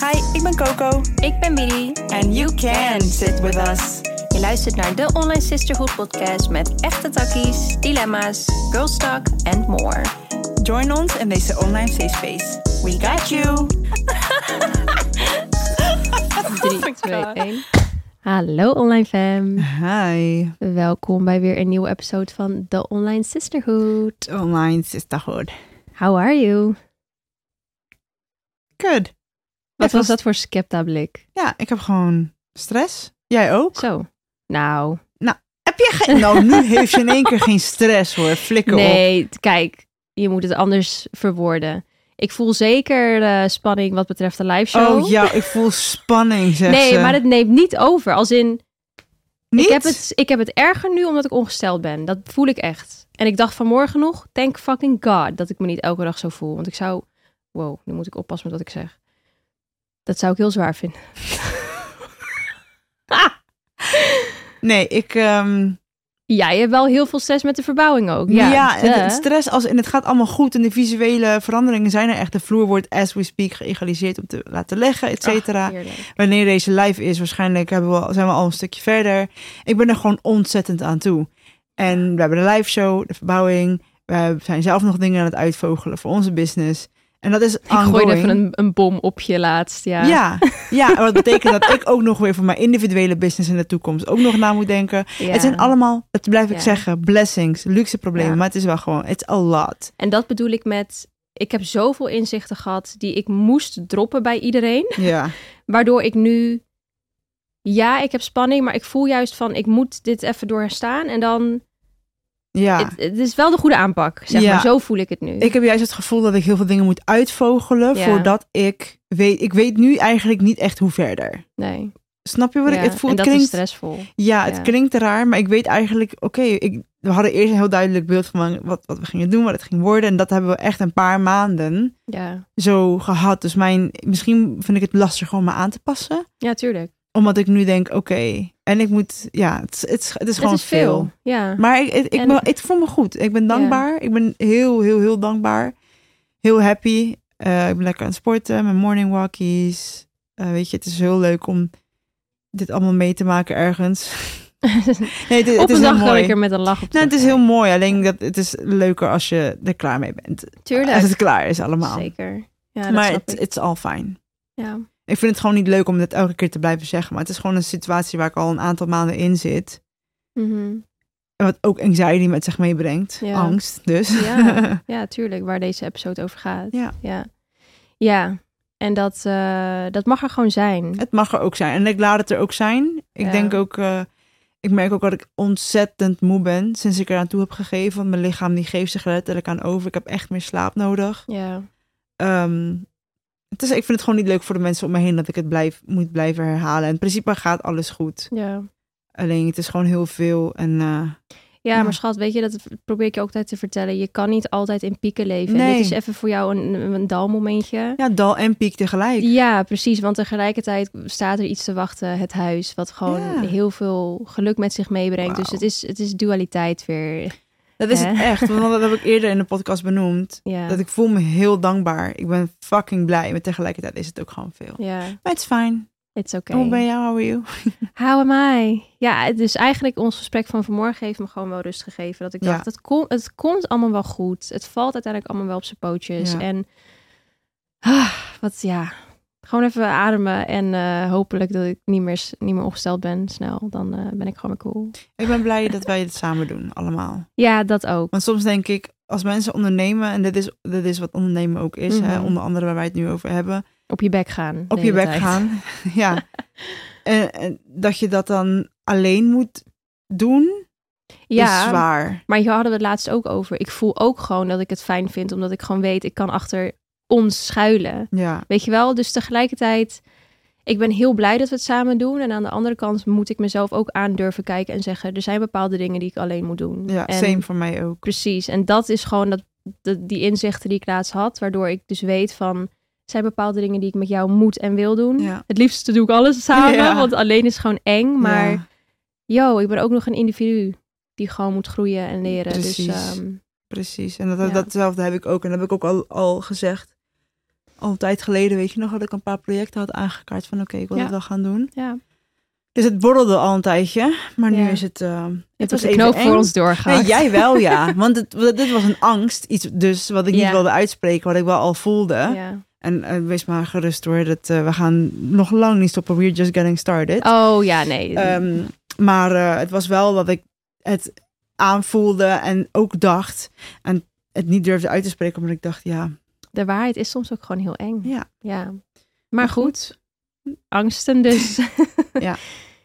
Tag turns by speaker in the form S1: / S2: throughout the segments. S1: Hi, ik ben Coco.
S2: Ik ben Billy.
S1: And you can sit with us.
S2: Je luistert naar de Online Sisterhood podcast met echte takkies, dilemma's, girl talk and more.
S1: Join ons in deze online safe space. We got you.
S2: 3, 2, 1. Hallo online fam.
S1: Hi.
S2: Welkom bij weer een nieuwe episode van de Online Sisterhood.
S1: Online sisterhood.
S2: How are you?
S1: Good.
S2: Wat
S1: Even-
S2: was dat voor scepta blik?
S1: Ja, ik heb gewoon stress. Jij ook?
S2: Zo. Nou,
S1: Heb je geen... Nou, nu heeft je in één keer geen stress hoor. Flikker op.
S2: nee, t- kijk, je moet het anders verwoorden. Ik voel zeker eh, spanning wat betreft de live show.
S1: Oh ja, ik voel spanning, zeg
S2: nee,
S1: ze.
S2: maar het neemt niet over. Als in,
S1: Niet?
S2: Ik heb, het, ik heb het erger nu omdat ik ongesteld ben. Dat voel ik echt. En ik dacht vanmorgen nog, thank fucking god, dat ik me niet elke dag zo voel. Want ik zou, wow, nu moet ik oppassen met wat ik zeg. Dat zou ik heel zwaar vinden.
S1: Nee, ik... ehm,
S2: Ja, je hebt wel heel veel stress met de verbouwing ook.
S1: Ja,
S2: Ja,
S1: het- eh.
S2: duh.
S1: het stress als en het gaat allemaal goed en de visuele veranderingen zijn er echt. De vloer wordt as we speak geëgaliseerd om te laten leggen, et cetera.
S2: Ach, Ah, heerlijk.
S1: Wanneer deze live is, waarschijnlijk hebben we, al- zijn we al een stukje verder. Ik ben er gewoon ontzettend aan toe. En we hebben de live show, de verbouwing. We zijn zelf nog dingen aan het uitvogelen voor onze business. En dat is
S2: Ik gooide
S1: ongoing.
S2: even een, een bom op je laatst. Ja.
S1: Ja, ja, en wat betekent dat ik ook nog weer voor mijn individuele business in de toekomst ook nog na moet denken.
S2: Ja.
S1: Het zijn allemaal, dat blijf ik
S2: Ja.
S1: zeggen, blessings, luxe problemen.
S2: Ja.
S1: Maar het is wel gewoon, it's a lot.
S2: En dat bedoel ik met, ik heb zoveel inzichten gehad die ik moest droppen bij iedereen.
S1: Ja.
S2: Waardoor ik nu, ja, ik heb spanning, maar ik voel juist van, ik moet dit even doorstaan. En dan,
S1: Ja.
S2: het, het is wel de goede aanpak, zeg
S1: Ja.
S2: maar. Zo voel ik het nu.
S1: ik heb juist het gevoel dat ik heel veel dingen moet uitvogelen
S2: Ja.
S1: voordat ik weet. Ik weet nu eigenlijk niet echt hoe verder.
S2: nee.
S1: Snap je wat
S2: Ja,
S1: ik? Het voelt
S2: en dat is
S1: klinkt.
S2: stressvol.
S1: ja, het
S2: ja.
S1: klinkt raar, maar ik weet eigenlijk. Oké, ik we hadden eerst een heel duidelijk beeld van wat, wat we gingen doen, wat het ging worden, en dat hebben we echt een paar maanden
S2: Ja.
S1: zo gehad. Dus mijn, misschien vind ik het lastig om me aan te passen,
S2: ja, tuurlijk.
S1: omdat ik nu denk, oké, en ik moet. Ja, het, is- het, is- het is gewoon
S2: het is veel. Ja.
S1: Maar ik, ik, ik,
S2: En-
S1: me- ik voel me goed. Ik ben dankbaar. Ik ben heel, heel, heel dankbaar. Heel happy. Eh, ik ben lekker aan het sporten. Mijn morning walkies. Eh, weet je, het is heel leuk om dit allemaal mee te maken ergens. Nee, het, het is
S2: Op een
S1: heel
S2: dag kan
S1: mooi.
S2: ik er met een lach op
S1: Nou, het is heel
S2: terugkijken.
S1: mooi. Alleen dat het is leuker als je er klaar mee bent. Als het
S2: Tuurlijk.
S1: klaar is allemaal.
S2: Zeker. Ja, dat
S1: maar
S2: snap
S1: het
S2: ik.
S1: is al fijn.
S2: Ja.
S1: Ik vind het gewoon niet leuk om dit elke keer te blijven zeggen. Maar het is gewoon een situatie waar ik al een aantal maanden in zit.
S2: Mhm.
S1: En Wat ook anxiety met zich meebrengt.
S2: Ja.
S1: Angst dus.
S2: Ja, ja, tuurlijk, waar deze episode over gaat.
S1: Ja.
S2: Ja, ja. en dat, eh, dat mag er gewoon zijn.
S1: Het mag er ook zijn. En ik laat het er ook zijn. Ik
S2: Ja.
S1: denk ook, eh, ik merk ook dat ik ontzettend moe ben sinds ik eraan toe heb gegeven. Want mijn lichaam die geeft zich er letterlijk aan over. Ik heb echt meer slaap nodig.
S2: Ja,
S1: Ehm, het is, ik vind het gewoon niet leuk voor de mensen om me heen dat ik het blijf, moet blijven herhalen. In principe gaat alles goed.
S2: ja.
S1: Alleen het is gewoon heel veel. En eh,
S2: Ja,
S1: Ja.
S2: maar schat, weet je, dat probeer ik je ook altijd te vertellen. Je kan niet altijd in pieken leven.
S1: Nee.
S2: En dit is even voor jou een, een dalmomentje.
S1: ja, dal en piek tegelijk.
S2: Ja, precies. Want tegelijkertijd staat er iets te wachten, het huis, wat gewoon
S1: Ja.
S2: heel veel geluk met zich meebrengt. Dus
S1: Wauw.
S2: het is, het is dualiteit weer.
S1: Dat is het
S2: Hè?
S1: echt. Want dat heb ik eerder in de podcast benoemd.
S2: Ja,
S1: Dat ik voel me heel dankbaar. Ik ben fucking blij. Maar tegelijkertijd is het ook gewoon veel.
S2: ja
S1: Maar het is fijn.
S2: it's okay.
S1: Hoe ben jou? How are you?
S2: How am I? Ja, dus eigenlijk ons gesprek van vanmorgen heeft me gewoon wel rust gegeven. Dat ik
S1: Ja.
S2: dacht, het, kom, het komt allemaal wel goed. Het valt uiteindelijk allemaal wel op zijn pootjes.
S1: Ja.
S2: En ah, wat ja, gewoon even ademen. En eh, hopelijk dat ik niet meer, s- niet meer opgesteld ben snel. Dan eh, ben ik gewoon weer cool.
S1: Ik ben blij dat wij dit samen doen, allemaal.
S2: Ja, dat ook.
S1: Want soms denk ik, als mensen ondernemen, en dit is, dit is wat ondernemen ook is, hè,
S2: Mhm.
S1: onder andere waar wij het nu over hebben,
S2: Op je bek gaan. de
S1: op je
S2: hele
S1: bek
S2: tijd.
S1: gaan. ja. En, en dat je dat dan alleen moet doen, is
S2: Ja,
S1: zwaar.
S2: maar hier hadden we het laatst ook over. Ik voel ook gewoon dat ik het fijn vind. Omdat ik gewoon weet, ik kan achter ons schuilen.
S1: Ja,
S2: Weet je wel? Dus tegelijkertijd, ik ben heel blij dat we het samen doen. En aan de andere kant moet ik mezelf ook aan durven kijken en zeggen: er zijn bepaalde dingen die ik alleen moet doen.
S1: ja
S2: en,
S1: same voor mij ook.
S2: Precies. En dat is gewoon dat, dat- die inzichten die ik laatst had, waardoor ik dus weet van. er zijn bepaalde dingen die ik met jou moet en wil doen.
S1: Ja.
S2: Het liefste doe ik alles samen,
S1: Ja.
S2: want alleen is gewoon eng. Maar
S1: Ja,
S2: yo, ik ben ook nog een individu die gewoon moet groeien en leren.
S1: Precies.
S2: Dus ehm,
S1: precies. En dat,
S2: Ja.
S1: datzelfde heb ik ook. En dat heb ik ook al, al gezegd. al een tijd geleden, weet je nog, dat ik een paar projecten had aangekaart van oké, ik wil
S2: Ja.
S1: dat wel gaan doen.
S2: Ja.
S1: Dus het borrelde al een tijdje, maar
S2: Ja.
S1: nu is het... eh,
S2: Het was
S1: was
S2: de
S1: even
S2: knoop
S1: eng.
S2: voor ons doorgaan.
S1: Nee, jij wel, ja. Want het, wa- dit was een angst, iets dus wat ik
S2: Ja.
S1: niet wilde uitspreken, wat ik wel al voelde.
S2: Ja.
S1: En eh, wees maar gerust hoor, dat, eh, we gaan nog lang niet stoppen. We're just getting started.
S2: Oh ja, nee.
S1: Ehm, maar eh, het was wel dat ik het aanvoelde en ook dacht. En het niet durfde uit te spreken, omdat ik dacht, ja,
S2: de waarheid is soms ook gewoon heel eng.
S1: Ja.
S2: ja. Maar goed, angsten dus.
S1: Ja.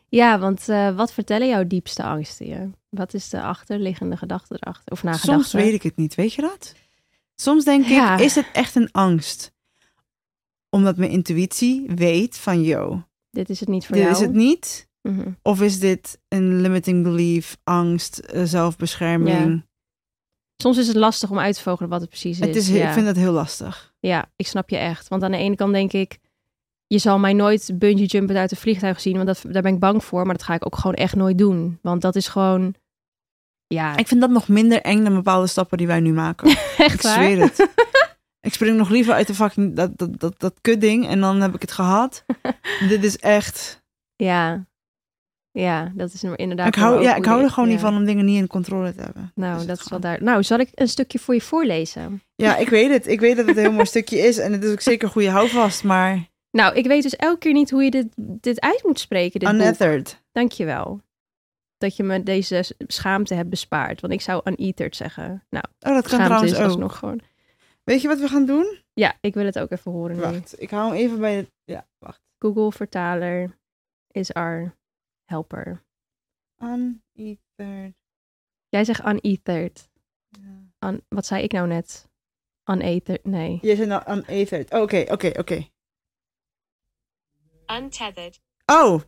S2: Ja, want eh, wat vertellen jouw diepste angsten je? Wat is de achterliggende gedachte erachter? Of nagedachte?
S1: soms weet ik het niet. Weet je dat? Soms denk
S2: Ja.
S1: ik, is het echt een angst? Omdat mijn intuïtie weet van, yo,
S2: Dit is het niet voor
S1: dit
S2: jou.
S1: is het niet.
S2: Mhm.
S1: Of is dit een limiting belief, angst, eh, zelfbescherming?
S2: Soms is het lastig om uit te vogelen wat het precies is.
S1: het is,
S2: ja.
S1: Ik vind dat heel lastig.
S2: ja, ik snap je echt. Want aan de ene kant denk ik, je zal mij nooit bungee jumpen uit een vliegtuig zien, want dat, daar ben ik bang voor. Maar dat ga ik ook gewoon echt nooit doen. Want dat is gewoon, ja,
S1: Ik vind dat nog minder eng dan bepaalde stappen die wij nu maken.
S2: echt
S1: ik
S2: waar.
S1: zweer het. ik spring nog liever uit de fucking dat, dat, dat, dat kutding en dan heb ik het gehad. Dit is echt.
S2: Ja. Ja, dat is inderdaad.
S1: ik
S2: wel
S1: hou,
S2: ook
S1: ja,
S2: hoe
S1: ik hou
S2: dit-
S1: er gewoon niet
S2: ja.
S1: van om dingen niet in controle te hebben.
S2: Nou,
S1: is
S2: dat
S1: het
S2: is wel daar. Nou, zal ik een stukje voor je voorlezen?
S1: Ja, ik weet het. Ik weet dat het een heel mooi stukje is en het is ook zeker een goede houvast, maar
S2: Nou, ik weet dus elke keer niet hoe je dit, dit uit moet spreken. Dit boek.
S1: unethered.
S2: Dankjewel. Dat je me deze s- schaamte hebt bespaard. Want ik zou uneatered zeggen. Nou,
S1: Oh, dat kan
S2: schaamte
S1: trouwens
S2: is
S1: ook.
S2: alsnog gewoon.
S1: Weet je wat we gaan doen?
S2: Ja, ik wil het ook even horen nu.
S1: Wacht, ik hou hem even bij de... Ja, wacht.
S2: Google vertaler is our helper.
S1: Unethered.
S2: Jij zegt uneatered.
S1: Ja.
S2: Un- wat zei ik nou net? Uneatered, nee.
S1: Je zei nou unethered. Oh, Oké, oké, oké.
S3: Untethered.
S1: Oh,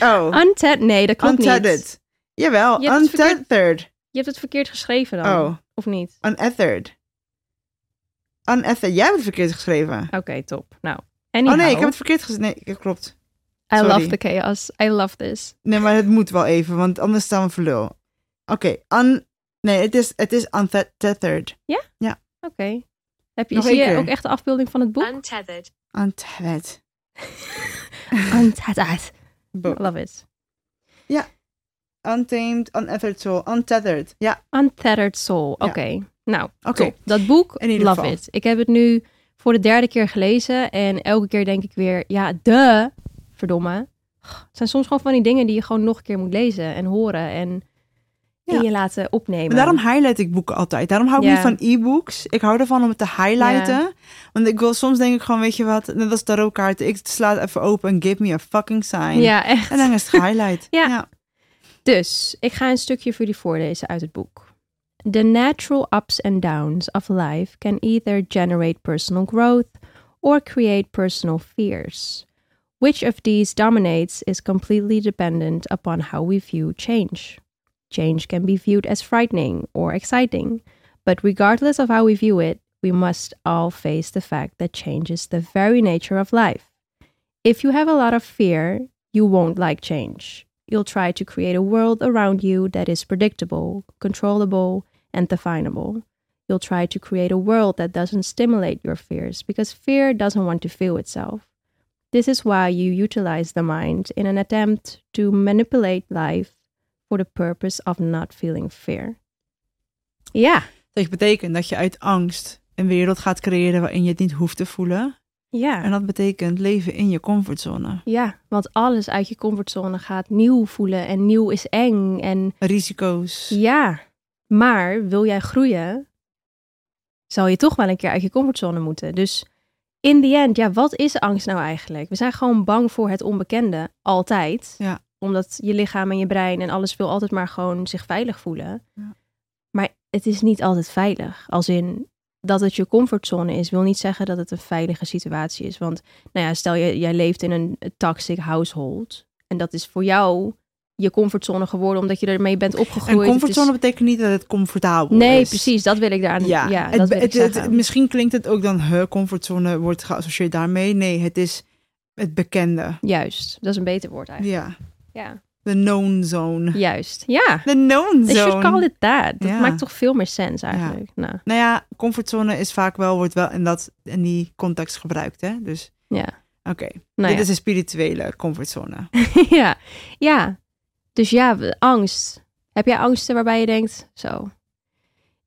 S1: oh.
S2: Untethered, nee, dat klopt niet.
S1: Untethered. Jawel,
S2: Je hebt het verkeerd-
S1: untethered.
S2: Je hebt het verkeerd geschreven dan,
S1: Oh,
S2: of niet?
S1: unethered. Unethered. Jij hebt het verkeerd geschreven.
S2: Oké, top. Nou, anyhow,
S1: Oh nee, ik heb het verkeerd geschreven. Nee, dat klopt.
S2: I
S1: sorry.
S2: love the chaos. I love this.
S1: Nee, maar het moet wel even, want anders staan we voor lul. Oké, un... Nee, het is, het is untethered.
S2: Oké. Heb je,
S1: Nog
S2: zie
S1: één
S2: je
S1: keer.
S2: ook echt de afbeelding van het boek?
S3: Untethered.
S1: Untethered.
S2: Untethered. I
S1: Bo-
S2: love it.
S1: Untamed, unethered soul. Untethered. Ja,
S2: Untethered Soul. Oké.
S1: Ja.
S2: Nou,
S1: oké.
S2: top. Dat boek,
S1: In ieder
S2: love
S1: geval.
S2: it. Ik heb het nu voor de derde keer gelezen. En elke keer denk ik weer, ja, de verdomme. Het zijn soms gewoon van die dingen die je gewoon nog een keer moet lezen en horen en
S1: Ja.
S2: in je laten opnemen.
S1: Maar daarom highlight ik boeken altijd. Daarom hou ik
S2: Ja.
S1: niet van e-books. Ik hou ervan om het te highlighten. Want ik wil soms denk ik gewoon, weet je wat, net als tarotkaarten. Ik sla het even open en give me a fucking sign.
S2: Ja, echt.
S1: En dan is het gehighlight.
S2: Ja. Dus, ik ga een stukje voor jullie voorlezen uit het boek. The natural ups and downs of life can either generate personal growth or create personal fears. Which of these dominates is completely dependent upon how we view change. Change can be viewed as frightening or exciting, but regardless of how we view it, we must all face the fact that change is the very nature of life. If you have a lot of fear, you won't like change. You'll try to create a world around you that is predictable, controllable, and definable. You'll try to create a world that doesn't stimulate your fears because fear doesn't want to feel itself. This is why you utilize the mind in an attempt to manipulate life for the purpose of not feeling fear. Ja,
S1: Dat betekent dat je uit angst een wereld gaat creëren waarin je het niet hoeft te voelen.
S2: ja,
S1: En dat betekent leven in je comfortzone.
S2: ja. Want alles uit je comfortzone gaat nieuw voelen en nieuw is eng en
S1: Risico's.
S2: Ja, maar wil jij groeien, zal je toch wel een keer uit je comfortzone moeten. Dus in the end, ja, wat is angst nou eigenlijk? We zijn gewoon bang voor het onbekende, altijd.
S1: Ja.
S2: Omdat je lichaam en je brein en alles wil altijd maar gewoon zich veilig voelen.
S1: Ja.
S2: Maar het is niet altijd veilig. Als in dat het je comfortzone is, wil niet zeggen dat het een veilige situatie is. Want nou ja, stel je, jij leeft in een toxic household. En dat is voor jou je comfortzone geworden, omdat je ermee bent opgegroeid.
S1: En
S2: Het is-
S1: comfortzone betekent niet dat het comfortabel is.
S2: Nee, precies. Dat wil ik daar aan. Ja,
S1: Ja, het-
S2: dat wil
S1: het-
S2: ik
S1: het-
S2: zeggen.
S1: misschien klinkt het ook dan, huh, comfortzone wordt geassocieerd daarmee. Nee, het is het bekende.
S2: Juist. Dat is een beter woord eigenlijk.
S1: Ja.
S2: Ja.
S1: De known zone.
S2: Juist. Ja.
S1: De known
S2: They should call
S1: zone.
S2: it that. Dat
S1: Ja.
S2: maakt toch veel meer sens eigenlijk. Nou,
S1: Nou ja, comfortzone is vaak wel, wordt wel in, dat, in die context gebruikt. Hè? Dus
S2: ja.
S1: oké,
S2: Nou
S1: dit
S2: ja.
S1: is een spirituele comfortzone.
S2: ja. Ja. Dus ja, we- angst. Heb jij angsten waarbij je denkt, zo,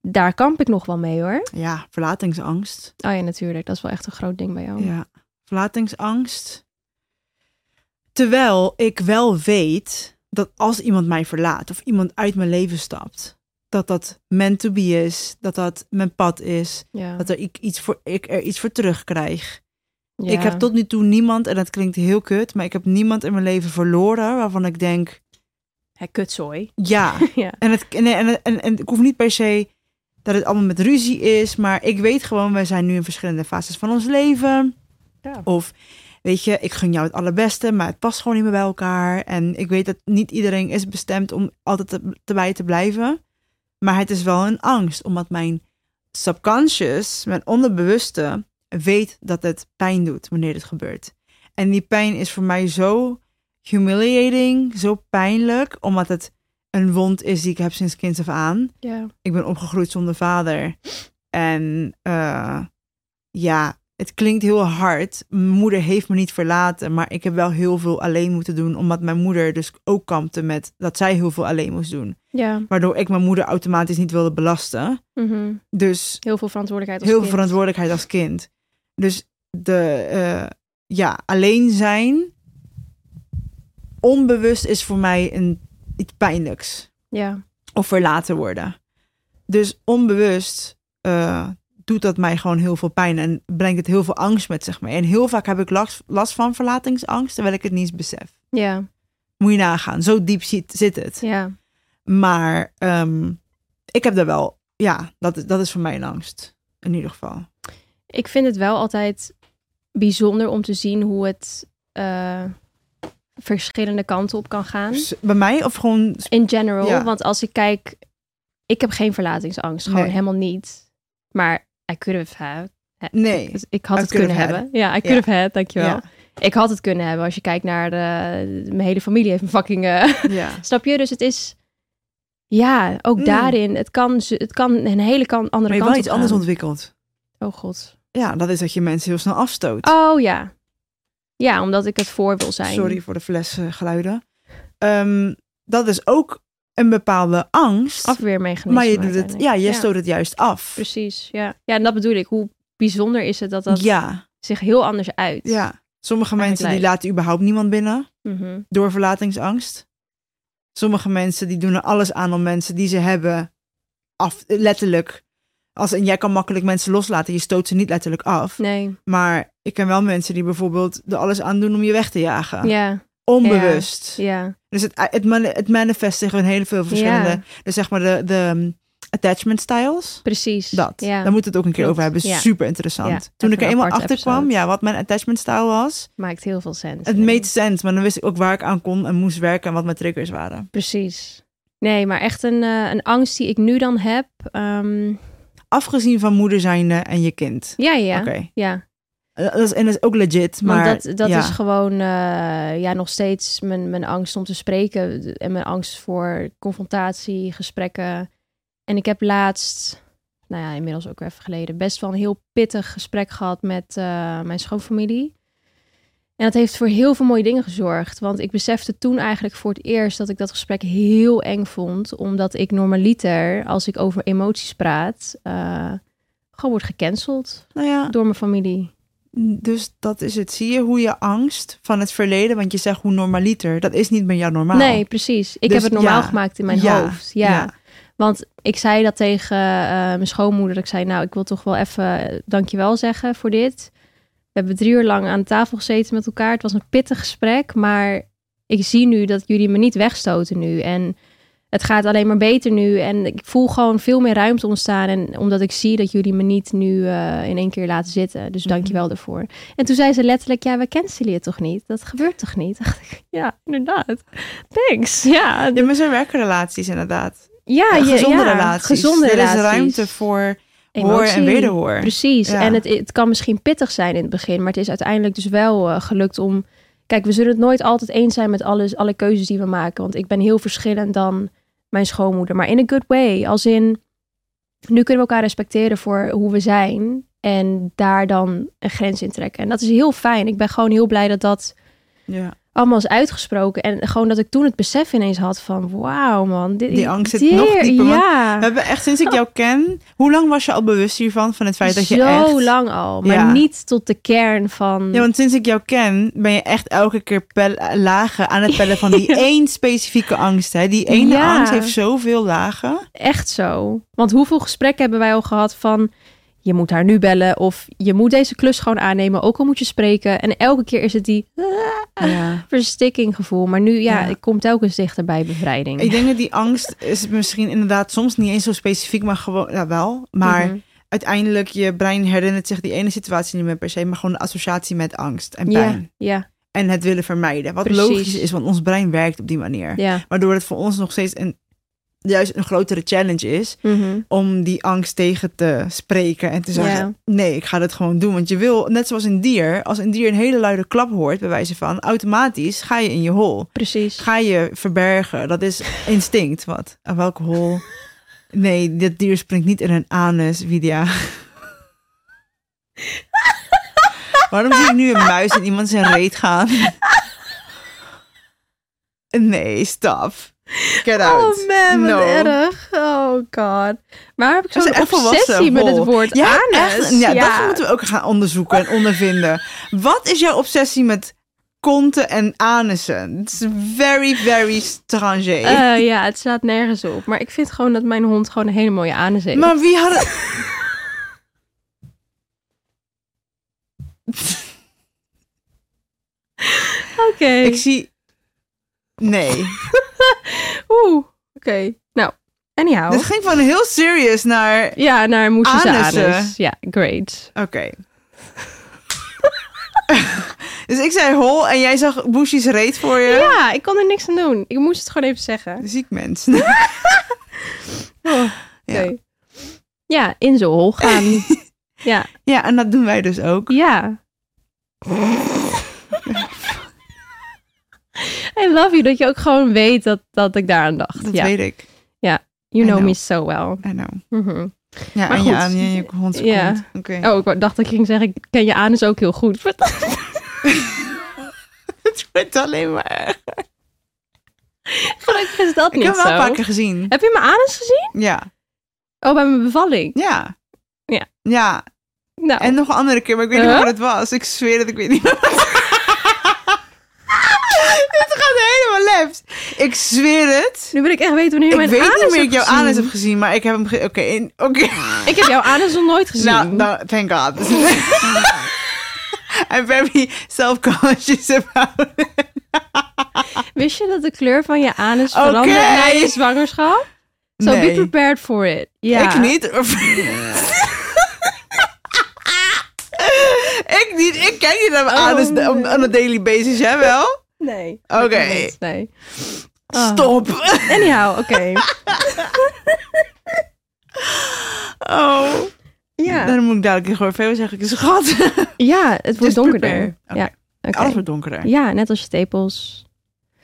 S2: daar kamp ik nog wel mee hoor.
S1: Ja, verlatingsangst.
S2: Oh ja, natuurlijk. Dat is wel echt een groot ding bij jou.
S1: Ja, verlatingsangst. Terwijl ik wel weet dat als iemand mij verlaat of iemand uit mijn leven stapt, dat dat meant to be is, dat dat mijn pad is,
S2: Ja.
S1: dat er ik, iets voor, ik er iets voor terugkrijg.
S2: Ja.
S1: Ik heb tot nu toe niemand, en dat klinkt heel kut, maar ik heb niemand in mijn leven verloren waarvan ik denk,
S2: Hé, kutzooi.
S1: ja.
S2: ja.
S1: En, het, en, en, en, en ik hoef niet per se dat het allemaal met ruzie is, maar ik weet gewoon, wij zijn nu in verschillende fases van ons leven.
S2: Ja.
S1: Of weet je, ik gun jou het allerbeste, maar het past gewoon niet meer bij elkaar. En ik weet dat niet iedereen is bestemd om altijd te, te bij te blijven. Maar het is wel een angst, omdat mijn subconscious, mijn onderbewuste, weet dat het pijn doet wanneer dit gebeurt. En die pijn is voor mij zo humiliating, zo pijnlijk, omdat het een wond is die ik heb sinds kinds af aan
S2: Ja.
S1: ik ben opgegroeid zonder vader. En eh, ja, het klinkt heel hard. Mijn moeder heeft me niet verlaten, maar ik heb wel heel veel alleen moeten doen, omdat mijn moeder dus ook kampte met dat zij heel veel alleen moest doen.
S2: Ja.
S1: Waardoor ik mijn moeder automatisch niet wilde belasten.
S2: Mhm.
S1: Dus
S2: Heel veel verantwoordelijkheid. als
S1: heel veel
S2: kind.
S1: verantwoordelijkheid als kind. Dus de, eh, ja, alleen zijn, onbewust is voor mij een, iets pijnlijks
S2: Ja.
S1: of verlaten worden. Dus onbewust eh, doet dat mij gewoon heel veel pijn en brengt het heel veel angst met zich mee. En heel vaak heb ik last, last van verlatingsangst, terwijl ik het niet eens besef.
S2: Ja.
S1: Moet je nagaan, zo diep zit, zit het.
S2: Ja.
S1: Maar ehm, ik heb daar wel, ja, dat, is- dat is voor mij een angst. In ieder geval.
S2: Ik vind het wel altijd bijzonder om te zien hoe het eh, verschillende kanten op kan gaan.
S1: Dus bij mij of gewoon.
S2: In general,
S1: Ja.
S2: want als ik kijk, ik heb geen verlatingsangst, gewoon
S1: Nee.
S2: helemaal niet. Maar I could have had.
S1: Nee.
S2: Dus ik had
S1: I
S2: het
S1: could
S2: kunnen
S1: have
S2: hebben. Ja, I could
S1: Ja.
S2: have had, dankjewel.
S1: Ja,
S2: Ik had het kunnen hebben als je kijkt naar de, mijn hele familie heeft een fucking... eh,
S1: ja.
S2: snap je? Dus het is... Ja, ook
S1: Mm.
S2: daarin. Het kan, ze- het kan een hele kan, andere
S1: Maar je hebt
S2: kant
S1: wel iets
S2: op
S1: anders
S2: gaan.
S1: ontwikkeld.
S2: Oh god.
S1: Ja, dat is dat je mensen heel snel afstoot.
S2: Oh ja. Ja, omdat ik het voor wil zijn.
S1: Sorry voor de flesgeluiden. Ehm dat is ook een bepaalde angst.
S2: Afweermechanisme.
S1: maar je doet het, ja,
S2: uiteindelijk.
S1: je stoot het juist af.
S2: Precies, ja. Ja, en dat bedoel ik. Hoe bijzonder is het dat dat
S1: Ja,
S2: zich heel anders uit.
S1: ja. Sommige
S2: Eigenlijk
S1: mensen die
S2: lijkt.
S1: laten überhaupt niemand binnen
S2: Mhm.
S1: door verlatingsangst. Sommige mensen die doen er alles aan om mensen die ze hebben af, letterlijk. Als, en jij kan makkelijk mensen loslaten, je stoot ze niet letterlijk af.
S2: Nee,
S1: Maar ik ken wel mensen die bijvoorbeeld er alles aan doen om je weg te jagen.
S2: ja,
S1: Onbewust.
S2: ja,
S1: Dus het, het, mani- het manifest zich in heel veel verschillende.
S2: Ja.
S1: Dus zeg maar de, de um, attachment styles.
S2: precies.
S1: Dat.
S2: Ja,
S1: Daar moeten we het ook een keer
S2: Klopt.
S1: over hebben.
S2: Ja.
S1: Super interessant.
S2: Ja,
S1: Toen
S2: even
S1: ik er
S2: een
S1: eenmaal
S2: aparte
S1: achter kwam,
S2: episode.
S1: ja, wat mijn attachment style was.
S2: maakt heel veel sens.
S1: Het
S2: Nee.
S1: made sense, maar dan wist ik ook waar ik aan kon en moest werken en wat mijn triggers waren.
S2: Precies. Nee, maar echt een, eh, een angst die ik nu dan heb. ehm,
S1: Afgezien van moeder zijnde en je kind.
S2: ja, ja,
S1: Oké. Eh,
S2: ja.
S1: Dat is, en dat is ook legit,
S2: Want
S1: maar
S2: dat, dat
S1: ja.
S2: is gewoon eh, ja, nog steeds mijn, mijn angst om te spreken. En mijn angst voor confrontatie, gesprekken. En ik heb laatst, nou ja, inmiddels ook even geleden, best wel een heel pittig gesprek gehad met eh, mijn schoonfamilie. En dat heeft voor heel veel mooie dingen gezorgd. Want ik besefte toen eigenlijk voor het eerst dat ik dat gesprek heel eng vond. Omdat ik normaliter, als ik over emoties praat, eh, gewoon word gecanceld
S1: Nou ja,
S2: door mijn familie.
S1: dus dat is het. Zie je hoe je angst van het verleden, want je zegt hoe normaliter, dat is niet bij jou normaal.
S2: Nee, precies. Ik
S1: Dus
S2: heb het normaal
S1: ja.
S2: gemaakt in mijn
S1: Ja.
S2: hoofd. Ja. Want ik zei dat tegen eh, mijn schoonmoeder. Ik zei, nou, ik wil toch wel even eh, dankjewel zeggen voor dit. We hebben drie uur lang aan tafel gezeten met elkaar. Het was een pittig gesprek, maar ik zie nu dat jullie me niet wegstoten nu. En het gaat alleen maar beter nu. En ik voel gewoon veel meer ruimte ontstaan. En omdat ik zie dat jullie me niet nu eh, in één keer laten zitten. Dus
S1: Mhm.
S2: dankjewel daarvoor. En toen zei ze letterlijk, ja, we cancelen je toch niet? Dat gebeurt toch niet? Dacht ik, ja, inderdaad. Thanks. Ja,
S1: Ja, maar zo werken relaties inderdaad.
S2: ja,
S1: Ja,
S2: je-
S1: gezonde
S2: ja,
S1: relaties.
S2: Gezonde
S1: er
S2: relaties.
S1: is ruimte voor hoor
S2: Emotie.
S1: en wederhoor.
S2: Precies.
S1: Ja.
S2: En het, het kan misschien pittig zijn in het begin, maar het is uiteindelijk dus wel eh, gelukt om Kijk, we zullen het nooit altijd eens zijn met alles, alle keuzes die we maken. Want ik ben heel verschillend dan mijn schoonmoeder. Maar in a good way. Als in, nu kunnen we elkaar respecteren voor hoe we zijn. En daar dan een grens in trekken. En dat is heel fijn. Ik ben gewoon heel blij dat dat
S1: Ja.
S2: allemaal is uitgesproken. En gewoon dat ik toen het besef ineens had van... Wauw man, dit,
S1: Die angst zit nog
S2: Dear,
S1: dieper, want
S2: Ja.
S1: We hebben echt sinds ik jou ken. Hoe lang was je al bewust hiervan? Van het feit dat je
S2: Zo
S1: echt.
S2: lang al. Maar
S1: Ja.
S2: niet tot de kern van...
S1: Ja, want sinds ik jou ken, ben je echt elke keer pel- lagen aan het pellen van die één specifieke angst. Hè? Die ene
S2: Ja.
S1: angst heeft zoveel lagen.
S2: Echt zo. Want hoeveel gesprekken hebben wij al gehad van... je moet haar nu bellen of je moet deze klus gewoon aannemen... ook al moet je spreken. En elke keer is het die
S1: Ja.
S2: verstikking gevoel. Maar nu, ja,
S1: Ja.
S2: ik kom telkens dichter bij bevrijding.
S1: Ik denk dat die angst is misschien inderdaad soms niet eens zo specifiek, maar gewoon ja, wel. Maar
S2: Mhm.
S1: uiteindelijk, je brein herinnert zich die ene situatie niet meer per se, maar gewoon de associatie met angst en pijn.
S2: Ja, ja,
S1: En het willen vermijden. Wat
S2: Precies.
S1: logisch is, want ons brein werkt op die manier.
S2: ja.
S1: Waardoor het voor ons nog steeds een, juist een grotere challenge is
S2: Mhm.
S1: om die angst tegen te spreken en te zeggen: nee, ik ga dit gewoon doen. Want je wil, net zoals een dier, als een dier een hele luide klap hoort, bij wijze van, automatisch ga je in je hol.
S2: Precies.
S1: Ga je verbergen. Dat is instinct. Wat? Aan welke hol? Nee, dat dier springt niet in een anus, Widia. Waarom zie ik nu een muis in iemand zijn reet gaan? Nee, stop. Get out.
S2: Oh man, wat
S1: No.
S2: erg. Oh god. Maar heb ik
S1: Dat is
S2: zo'n
S1: echt
S2: obsessie
S1: volwassen,
S2: met het
S1: Bol.
S2: woord
S1: Ja,
S2: anus?
S1: echt. Ja, dat moeten we ook gaan onderzoeken en ondervinden. Wat is jouw obsessie met konten en anussen? Het is very, very strange.
S2: Eh, ja, het staat nergens op. Maar ik vind gewoon dat mijn hond gewoon een hele mooie anus heeft.
S1: maar wie had het...
S2: Oké.
S1: Ik zie... Nee.
S2: Nou? Oeh. Oké. Nou, anyhow.
S1: Dit ging van heel serious naar... Oké.
S2: Ja, naar moesjes
S1: Anussen.
S2: anus. Ja, great.
S1: dus ik zei hol en jij zag Bushi's reet voor je.
S2: Ja, ik kon er niks aan doen. Ik moest het gewoon even zeggen.
S1: Ziek mens.
S2: Oh, Oké.
S1: Ja.
S2: Ja, in zijn hol gaan. ja,
S1: ja, en dat doen wij dus ook.
S2: ja. I love you, dat je ook gewoon weet dat, dat ik daaraan dacht.
S1: Dat
S2: ja,
S1: weet ik.
S2: you
S1: I
S2: know
S1: know.
S2: me so well.
S1: I know.
S2: Mhm.
S1: Ja,
S2: Maar
S1: en je
S2: goed.
S1: aan je hond
S2: Ja.
S1: kont. Oké.
S2: Oh, ik wou- dacht dat ik ging zeggen, ik ken je anus ook heel goed.
S1: Het wordt alleen maar.
S2: Gelukkig is dat
S1: Ik
S2: niet
S1: heb wel
S2: zo.
S1: een paar keer gezien.
S2: Heb je mijn anus gezien?
S1: Ja,
S2: Oh, bij mijn bevalling.
S1: ja.
S2: Ja.
S1: Ja,
S2: Nou,
S1: en nog een andere keer, maar ik weet niet
S2: Huh?
S1: waar het was. Ik zweer dat ik weet niet. Dit gaat helemaal left. Ik zweer het.
S2: nu wil ik echt weten wanneer je
S1: Ik
S2: mijn
S1: weet niet
S2: anus
S1: meer dat
S2: hebt
S1: ik jouw
S2: gezien.
S1: anus heb gezien, maar ik heb hem... ge- Oké, in- oké.
S2: Ik heb jouw anus nog nooit gezien.
S1: Nou, nou, thank God. I'm very self-conscious about it.
S2: Wist je dat de kleur van je anus
S1: Oké.
S2: verandert na je zwangerschap? So
S1: Nee.
S2: be prepared for it. Ja.
S1: Ik niet. Of... ik niet. Ik ken je dan aan
S2: Oh,
S1: dus de- op- on a daily basis, jij wel?
S2: Nee.
S1: Oké.
S2: Ik kan niet, Nee. Ah.
S1: Stop.
S2: Anyhow, oké.
S1: Oh.
S2: Ja.
S1: Dan moet ik dadelijk tegen Orfeo zeggen, schat.
S2: ja, het wordt
S1: Just
S2: donkerder.
S1: prepare. Oké.
S2: Ja. oké.
S1: Alles wordt donkerder.
S2: Ja, net als je tepels.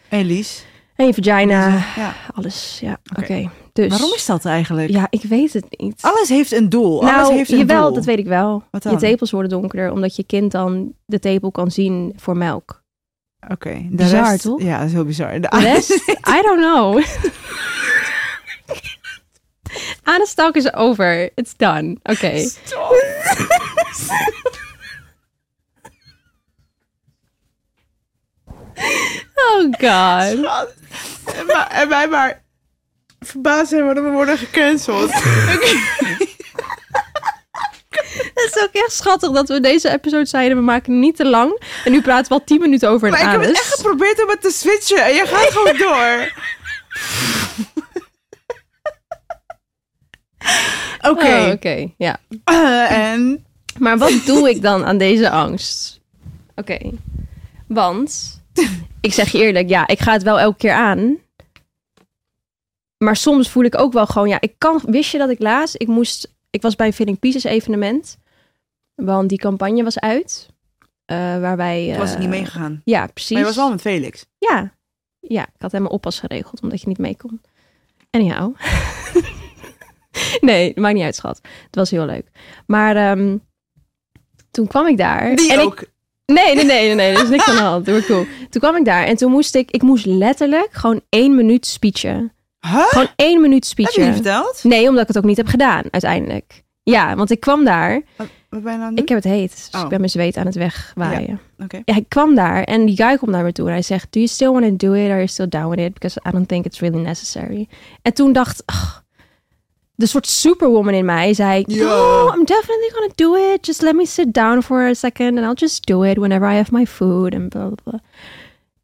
S1: Elise.
S2: En je vagina.
S1: Ja.
S2: Alles, ja. Oké.
S1: Oké.
S2: Dus.
S1: Waarom is dat eigenlijk?
S2: Ja, ik weet het niet.
S1: Alles heeft een doel. Alles
S2: nou,
S1: heeft een
S2: jawel,
S1: doel.
S2: dat weet ik wel.
S1: Wat dan?
S2: Je tepels worden donkerder, omdat je kind dan de tepel kan zien voor melk.
S1: Oké. de
S2: Bizar,
S1: rest-
S2: toch?
S1: Ja, dat is heel bizar. De
S2: De rest, I don't know. Anastalk is over. It's done. Oké.
S1: Stop.
S2: Oh god.
S1: Schat. En, maar, en wij maar verbaasd zijn waarom we worden gecanceld.
S2: Het is ook echt schattig dat we deze episode zeiden, we maken het niet te lang. En nu praten we al 10 minuten over een
S1: Maar ik heb het
S2: anus.
S1: echt geprobeerd om het te switchen en jij gaat gewoon door. Oké,
S2: Oh, Oké, ja.
S1: eh, en
S2: Maar wat doe ik dan aan deze angst? Oké. Want, ik zeg je eerlijk, ja, ik ga het wel elke keer aan. Maar soms voel ik ook wel gewoon, ja, ik kan. Wist je dat ik laatst, ik moest, ik was bij een Feeling Pieces evenement. Want die campagne was uit. eh, waar wij...
S1: Toen was ik
S2: eh,
S1: niet meegegaan.
S2: Ja, precies.
S1: Maar je was wel met Felix.
S2: Ja. Ja, ik had helemaal oppas geregeld, omdat je niet mee kon. Anyhow. nee, maakt niet uit, schat. Het was heel leuk. Maar ehm, toen kwam ik daar.
S1: Die
S2: en ik-
S1: ook.
S2: Nee, nee, nee, nee, nee. Er is niks aan de hand. Doe maar cool. Toen kwam ik daar en toen moest ik... Ik moest letterlijk gewoon één minuut speechen.
S1: Huh?
S2: Gewoon één minuut
S1: Heb je niet
S2: speechen.
S1: verteld?
S2: Nee, omdat ik het ook niet heb gedaan, uiteindelijk. Ja, want ik kwam daar.
S1: Wat ben je nou aan het
S2: Ik Ah, heb het heet, dus
S1: Oh.
S2: ik ben mijn zweet aan het wegwaaien.
S1: doen? Oké.
S2: Ja, ik kwam daar en die guy komt naar me toe en hij zegt: Do you still want to do it? Are you still down with it? Because I don't think it's really necessary. En toen dacht, ach, de soort superwoman in mij zei:
S1: Ja.
S2: No, I'm definitely gonna do it. Just let me sit down for a second and I'll just do it whenever I have my food en bla bla bla.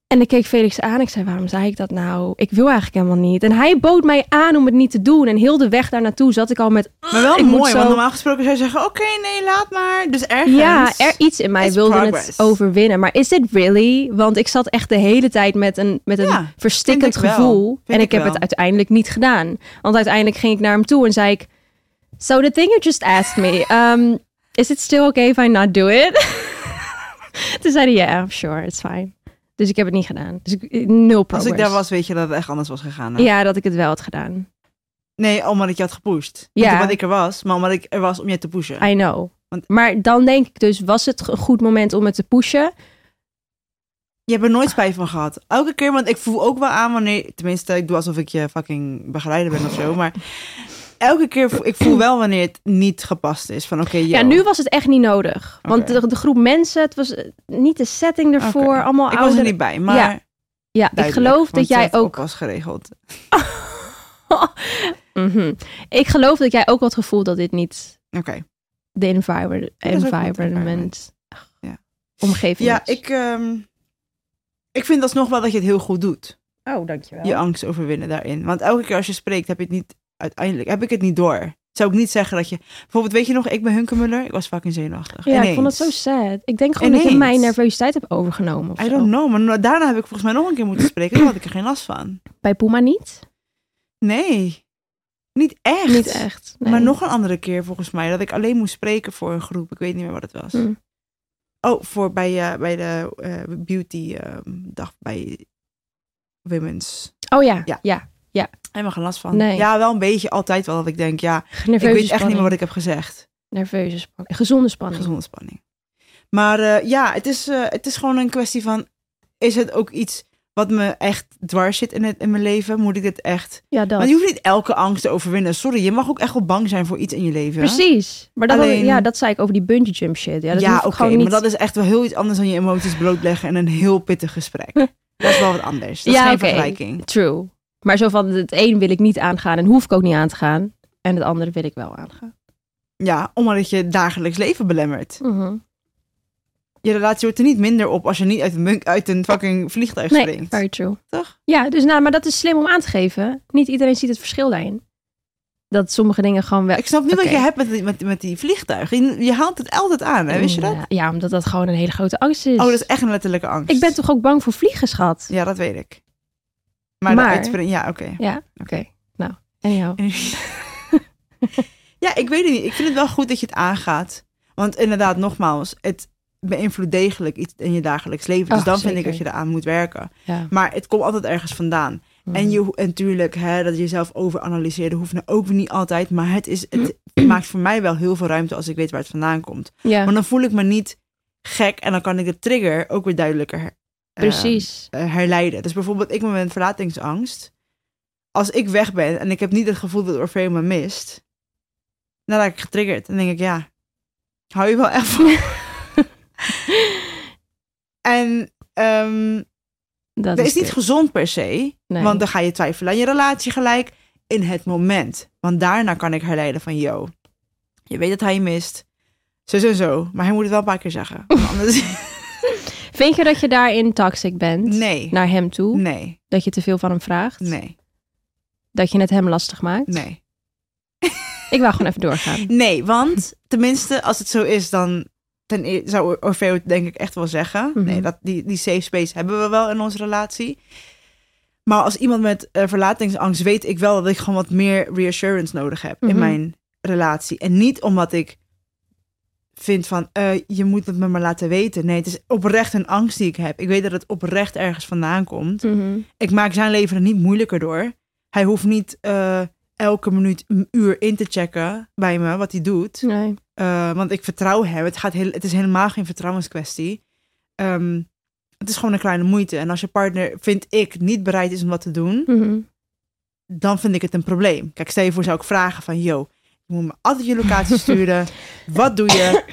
S2: En ik keek Felix aan. Ik zei: Waarom zei ik dat nou? Ik wil eigenlijk helemaal niet. En hij bood mij aan om het niet te doen. En heel de weg daar naartoe zat ik al met.
S1: Maar wel
S2: ik moet
S1: mooi,
S2: zo-
S1: want normaal gesproken zou je zeggen... Oké, nee, laat maar. Dus ergens...
S2: ja, er iets in mij
S1: is
S2: wilde het
S1: progress.
S2: overwinnen. Maar is dit really? Want ik zat echt de hele tijd met een, met een
S1: Ja,
S2: verstikkend
S1: vind ik wel.
S2: gevoel.
S1: Vind
S2: En ik,
S1: ik
S2: heb
S1: wel.
S2: het uiteindelijk niet gedaan. Want uiteindelijk ging ik naar hem toe en zei ik... So the thing you just asked me... um, is it still okay if I not do it? Toen zei hij, yeah, sure, it's fine. Dus ik heb het niet gedaan. Dus ik, nul
S1: Als
S2: progress.
S1: ik daar was, weet je dat het echt anders was gegaan. hè?
S2: Ja, dat ik het wel had gedaan.
S1: Nee, omdat ik je had gepusht.
S2: Ja. Ah,
S1: Niet omdat ik er was, maar omdat ik er was om je te pushen.
S2: I know.
S1: Want-
S2: Maar dan denk ik dus, was het een goed moment om het te pushen?
S1: Je hebt er nooit spijt van gehad. Elke keer, want ik voel ook wel aan wanneer... Tenminste, ik doe alsof ik je fucking begeleider ben of zo, maar... Elke keer, voel- ik voel wel wanneer het niet gepast is. Van oké,
S2: Ja,
S1: yo.
S2: nu was het echt niet nodig. Want
S1: Oké.
S2: de, de groep mensen, het was eh, niet de setting ervoor,
S1: Oké.
S2: allemaal
S1: Ik was
S2: ouderen.
S1: er niet bij, maar...
S2: Ja, Ja, ik
S1: duidelijk,
S2: geloof dat
S1: want
S2: jij
S1: ze had
S2: ook.
S1: was geregeld.
S2: Mhm. Ik geloof dat jij ook had het gevoel dat dit niet
S1: Oké.
S2: de environment,
S1: is ook niet de
S2: environment
S1: environment. Ja.
S2: omgeving
S1: Ja,
S2: is.
S1: ik, ehm, ik vind alsnog wel dat je het heel goed doet.
S2: Oh, dankjewel.
S1: Je angst overwinnen daarin. Want elke keer als je spreekt, heb je het niet uiteindelijk heb ik het niet door. Zou ik niet zeggen dat je. Bijvoorbeeld, weet je nog, ik ben Hunkemuller. Ik was fucking zenuwachtig.
S2: Ja, ik vond het
S1: Ineens.
S2: zo sad. Ik denk gewoon dat je
S1: Ineens.
S2: mijn nervositeit hebt overgenomen. of
S1: I
S2: zo.
S1: don't know. Maar na- daarna heb ik volgens mij nog een keer moeten spreken. Toen had ik er geen last van.
S2: Bij Puma niet?
S1: Nee. Niet echt.
S2: Niet echt. nee.
S1: Maar nog een andere keer volgens mij dat ik alleen moest spreken voor een groep. Ik weet niet meer wat het was.
S2: Hm.
S1: Oh, voor bij, eh, bij de eh, beauty ehm, dag bij Women's.
S2: Oh ja, ja.
S1: Ja. Helemaal geen last van.
S2: Nee.
S1: Ja, wel een beetje altijd wel dat ik denk, ja,
S2: Nerveuze
S1: ik weet echt niet
S2: spanning.
S1: meer wat ik heb gezegd.
S2: Nerveuze spanning. Gezonde spanning.
S1: Gezonde spanning. Maar eh, ja, het is, eh, het is gewoon een kwestie van, is het ook iets wat me echt dwars zit in, het, in mijn leven? Moet ik dit echt...
S2: Ja, dat.
S1: Want je hoeft niet elke angst te overwinnen. Sorry, je mag ook echt wel bang zijn voor iets in je leven.
S2: Precies. Maar dat,
S1: Alleen-
S2: ja, dat zei ik over die bungee jump shit. Ja,
S1: Ja,
S2: dat hoef ik
S1: oké,
S2: gewoon niet...
S1: maar dat is echt wel heel iets anders dan je emoties blootleggen en een heel pittig gesprek. Dat is wel wat anders. Dat
S2: Ja,
S1: is geen
S2: oké.
S1: vergelijking.
S2: True. Maar zo van het een wil ik niet aangaan en hoef ik ook niet aan te gaan. En het andere wil ik wel aangaan.
S1: Ja, omdat het je dagelijks leven belemmert.
S2: Mhm.
S1: je relatie wordt er niet minder op als je niet uit een, bunk- uit een fucking vliegtuig
S2: Oh. Nee,
S1: springt.
S2: very true.
S1: Toch?
S2: Ja, dus nou, maar dat is slim om aan te geven. Niet iedereen ziet het verschil daarin. Dat sommige dingen gewoon wel...
S1: Ik snap niet
S2: Oké.
S1: wat je hebt met, die- met, met die vliegtuigen. Je, je haalt het altijd aan, hè? wist je dat?
S2: Ja, ja, omdat dat gewoon een hele grote angst is.
S1: Oh, dat is echt een letterlijke angst.
S2: Ik ben toch ook bang voor vliegen, schat?
S1: Ja, dat weet ik. Maar, de
S2: Maar-
S1: uitspring- ja, oké.
S2: Ja, oké. Nou, en jou?
S1: ja, ik weet het niet. Ik vind het wel goed dat je het aangaat. Want inderdaad, nogmaals, het beïnvloedt degelijk iets in je dagelijks leven. Dus
S2: Ach,
S1: dan vind
S2: Oh, zeker.
S1: ik dat je eraan moet werken.
S2: Ja.
S1: Maar het komt altijd ergens vandaan.
S2: Mm.
S1: En, je, ho- en natuurlijk, hè, dat je jezelf overanalyseren hoeft nou ook niet altijd. Maar het, is, het maakt voor mij wel heel veel ruimte als ik weet waar het vandaan komt.
S2: Ja,
S1: Want dan voel ik me niet gek en dan kan ik de trigger ook weer duidelijker her- eh,
S2: precies.
S1: eh, herleiden. Dus bijvoorbeeld, ik ben met verlatingsangst. Als ik weg ben en ik heb niet het gevoel dat Orfeo me mist, dan raak ik getriggerd. Dan denk ik, ja, hou je wel echt van. en ehm,
S2: Dat
S1: dat is niet
S2: dit.
S1: gezond per se.
S2: Nee.
S1: Want dan ga je twijfelen aan je relatie gelijk in het moment. Want daarna kan ik herleiden van, yo, je weet dat hij je mist. Zo, zo, zo. Maar hij moet het wel een paar keer zeggen. Want Anders...
S2: Vind je dat je daarin toxic bent?
S1: Nee,
S2: Naar hem toe?
S1: nee,
S2: Dat je te veel van hem vraagt?
S1: nee,
S2: Dat je het hem lastig maakt?
S1: nee.
S2: Ik wou gewoon even doorgaan.
S1: Ehm, Nee, want tenminste, als het zo is, dan ten eer- zou Orfeo het denk ik echt wel zeggen.
S2: Mhm.
S1: Nee, dat, die, die safe space hebben we wel in onze relatie. Maar als iemand met eh, verlatingsangst weet ik wel dat ik gewoon wat meer reassurance nodig heb
S2: Mhm.
S1: in mijn relatie. En niet omdat ik vind van eh, je moet het me maar laten weten. Nee, het is oprecht een angst die ik heb. Ik weet dat het oprecht ergens vandaan komt.
S2: Mhm.
S1: Ik maak zijn leven er niet moeilijker door. Hij hoeft niet eh, elke minuut een uur in te checken bij me wat hij doet.
S2: Nee.
S1: Eh, want ik vertrouw hem. Het, gaat heel, het is helemaal geen vertrouwenskwestie. Ehm, het is gewoon een kleine moeite. En als je partner, vind ik, niet bereid is om dat te doen,
S2: Mhm.
S1: dan vind ik het een probleem. Kijk, stel je voor zou ik vragen van, yo, je moet me altijd je locatie sturen. Wat doe je?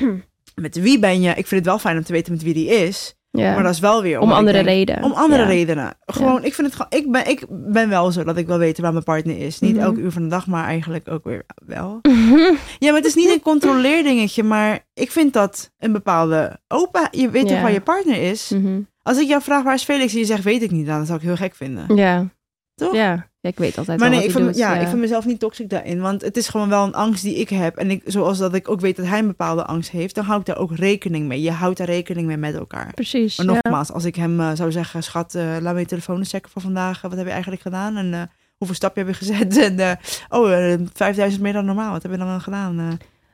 S1: Met wie ben je? Ik vind het wel fijn om te weten met wie die is.
S2: Ja.
S1: Maar dat is wel weer...
S2: om
S1: omdat ik
S2: andere
S1: denk-
S2: redenen.
S1: Om andere
S2: Ja.
S1: redenen. Gewoon, ik vind het gewoon... Ik ben, ik ben wel zo dat ik wel weet waar mijn partner is. Niet
S2: Mhm.
S1: elke uur van de dag, maar eigenlijk ook weer wel. Ja, maar het is niet een controleerdingetje, maar ik vind dat een bepaalde open. Je weet toch
S2: Ja.
S1: waar je partner is?
S2: Mhm.
S1: Als ik jou vraag waar is Felix en je zegt weet ik niet, nou, dan zou ik heel gek vinden.
S2: Ja.
S1: Toch?
S2: Ja. Ja, ik weet altijd
S1: Maar
S2: al
S1: nee, ik
S2: wat
S1: vind,
S2: hij
S1: me-
S2: doet,
S1: ja, ik vind mezelf niet toxic daarin, want het is gewoon wel een angst die ik heb. En ik, zoals dat ik ook weet dat hij een bepaalde angst heeft, dan hou ik daar ook rekening mee. Je houdt daar rekening mee met elkaar.
S2: Precies.
S1: Maar
S2: ja.
S1: nogmaals, als ik hem eh, zou zeggen, schat, eh, laat me je telefoon eens checken voor vandaag. Eh, wat heb je eigenlijk gedaan? En eh, hoeveel stapje heb je gezet? En eh, oh, eh, 5000 meer dan normaal. Wat heb je dan aan gedaan? Eh,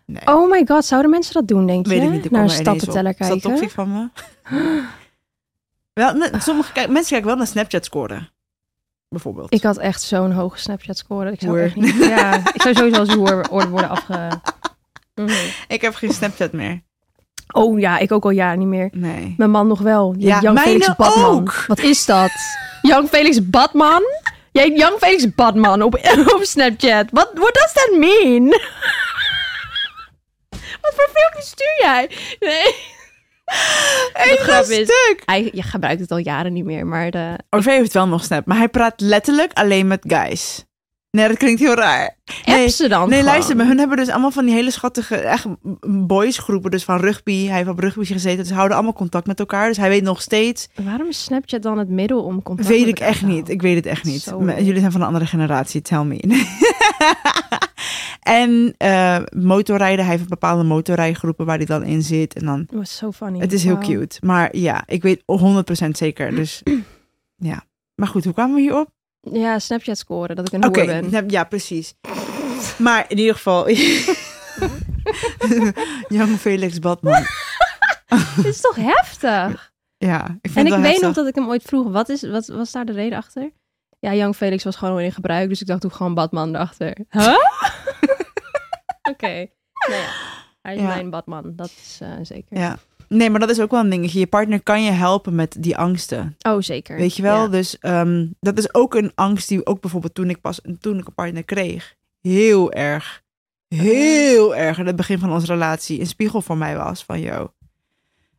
S1: nee.
S2: Oh my god, zouden mensen dat doen, denk
S1: Weet
S2: je?
S1: ik niet. Ik
S2: Naar een
S1: kwam er ineens op.
S2: stappenteller
S1: Is dat
S2: kijken.
S1: toxic van me? wel, me- sommige kijk- mensen kijken wel naar Snapchat-scoren. Bijvoorbeeld.
S2: Ik had echt zo'n hoge Snapchat-score. dat Ik zou
S1: Hoer.
S2: echt niet... Ja, ik zou sowieso als hoer or- worden afge... Mhm.
S1: Ik heb geen Snapchat meer.
S2: Oh ja, ik ook al jaren niet meer.
S1: Nee.
S2: Mijn man nog wel.
S1: Ja,
S2: Ja, Jan Felix
S1: mijne
S2: Badman.
S1: ook.
S2: Wat is dat? Jan Felix Badman? Jij Jan Felix Badman op, op Snapchat. What, what does that mean? Wat voor filmpjes stuur jij? Nee.
S1: Eén
S2: grap is-
S1: stuk!
S2: Hij, je gebruikt het al jaren niet meer, maar de...
S1: Orvee heeft wel nog Snap, maar hij praat letterlijk alleen met guys. Nee, dat klinkt heel raar. Nee,
S2: App ze dan
S1: nee
S2: gewoon.
S1: luister, maar hun hebben dus allemaal van die hele schattige echt boysgroepen. Dus van rugby. Hij heeft op rugby gezeten. Dus ze houden allemaal contact met elkaar. Dus hij weet nog steeds.
S2: Waarom is Snapchat dan het middel om contact
S1: weet
S2: met
S1: ik
S2: elkaar
S1: echt
S2: te
S1: niet.
S2: houden?
S1: Ik weet het echt niet.
S2: Zo
S1: Me-
S2: weird.
S1: Jullie zijn van een andere generatie, tell me. en eh, motorrijden, hij heeft bepaalde motorrijgroepen waar hij dan in zit. En dan,
S2: Dat was Oh, zo funny.
S1: het is heel
S2: Wauw.
S1: cute. Maar ja, ik weet 100% zeker. Dus ja. Maar goed, hoe kwamen we hierop?
S2: Ja, Snapchat scoren, dat ik een
S1: Oké,
S2: hoer ben.
S1: nou, ja, precies. Maar in ieder geval... Young Felix Badman.
S2: Dit is toch heftig?
S1: Ja, ik
S2: en
S1: vind het
S2: ik
S1: wel
S2: weet nog
S1: heftig.
S2: dat ik hem ooit vroeg, wat, is, wat was daar de reden achter? Ja, Young Felix was gewoon in gebruik, dus ik dacht, doe gewoon Batman erachter. Huh? Oké. Nou ja, hij is
S1: Ja.
S2: mijn Batman, dat is eh, zeker.
S1: Ja. Nee, maar dat is ook wel een dingetje. Je partner kan je helpen met die angsten.
S2: Oh, zeker.
S1: Weet je wel?
S2: Ja.
S1: Dus ehm, dat is ook een angst die ook bijvoorbeeld toen ik pas toen ik een partner kreeg, heel erg, heel erg aan het begin van onze relatie een spiegel voor mij was van yo,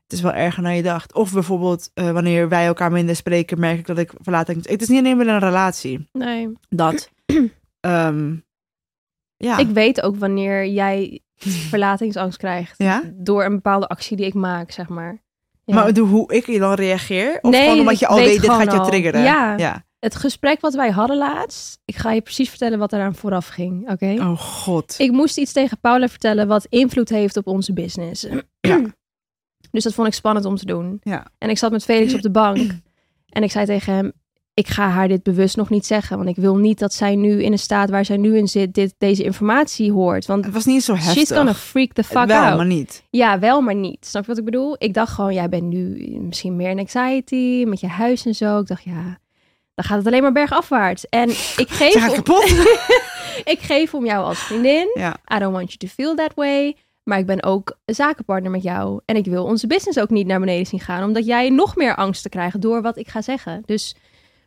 S1: het is wel erger dan je dacht. Of bijvoorbeeld eh, wanneer wij elkaar minder spreken, merk ik dat ik verlaat. Het is niet alleen maar een relatie
S2: Nee.
S1: dat. ehm, ja.
S2: Ik weet ook wanneer jij verlatingsangst krijgt
S1: ja.
S2: door een bepaalde actie die ik maak, zeg maar. Ja.
S1: Maar de- hoe ik je dan reageer? Of
S2: Nee,
S1: gewoon omdat je
S2: ik
S1: al
S2: weet
S1: weet, dit
S2: gewoon
S1: gaat je
S2: al.
S1: triggeren?
S2: Ja.
S1: ja.
S2: Het gesprek wat wij hadden laatst, ik ga je precies vertellen wat eraan vooraf ging, oké?
S1: Oh god.
S2: Ik moest iets tegen Paula vertellen wat invloed heeft op onze business.
S1: Ja.
S2: Dus dat vond ik spannend om te doen.
S1: Ja.
S2: En ik zat met Felix op de bank en ik zei tegen hem, ik ga haar dit bewust nog niet zeggen, want ik wil niet dat zij nu in de staat waar zij nu in zit, dit, deze informatie hoort. Want
S1: Het was niet zo heftig.
S2: she's gonna freak the fuck
S1: Wel,
S2: out.
S1: maar niet.
S2: Ja, wel, maar niet. Snap je wat ik bedoel? Ik dacht gewoon, jij bent nu misschien meer in anxiety met je huis en zo. Ik dacht, ja, dan gaat het alleen maar bergafwaarts. En ik
S1: Ze
S2: geef,
S1: gaat
S2: om,
S1: kapot.
S2: ik geef om jou als vriendin.
S1: Ja.
S2: I don't want you to feel that way. Maar ik ben ook een zakenpartner met jou. En ik wil onze business ook niet naar beneden zien gaan. Omdat jij nog meer angst te krijgen door wat ik ga zeggen. Dus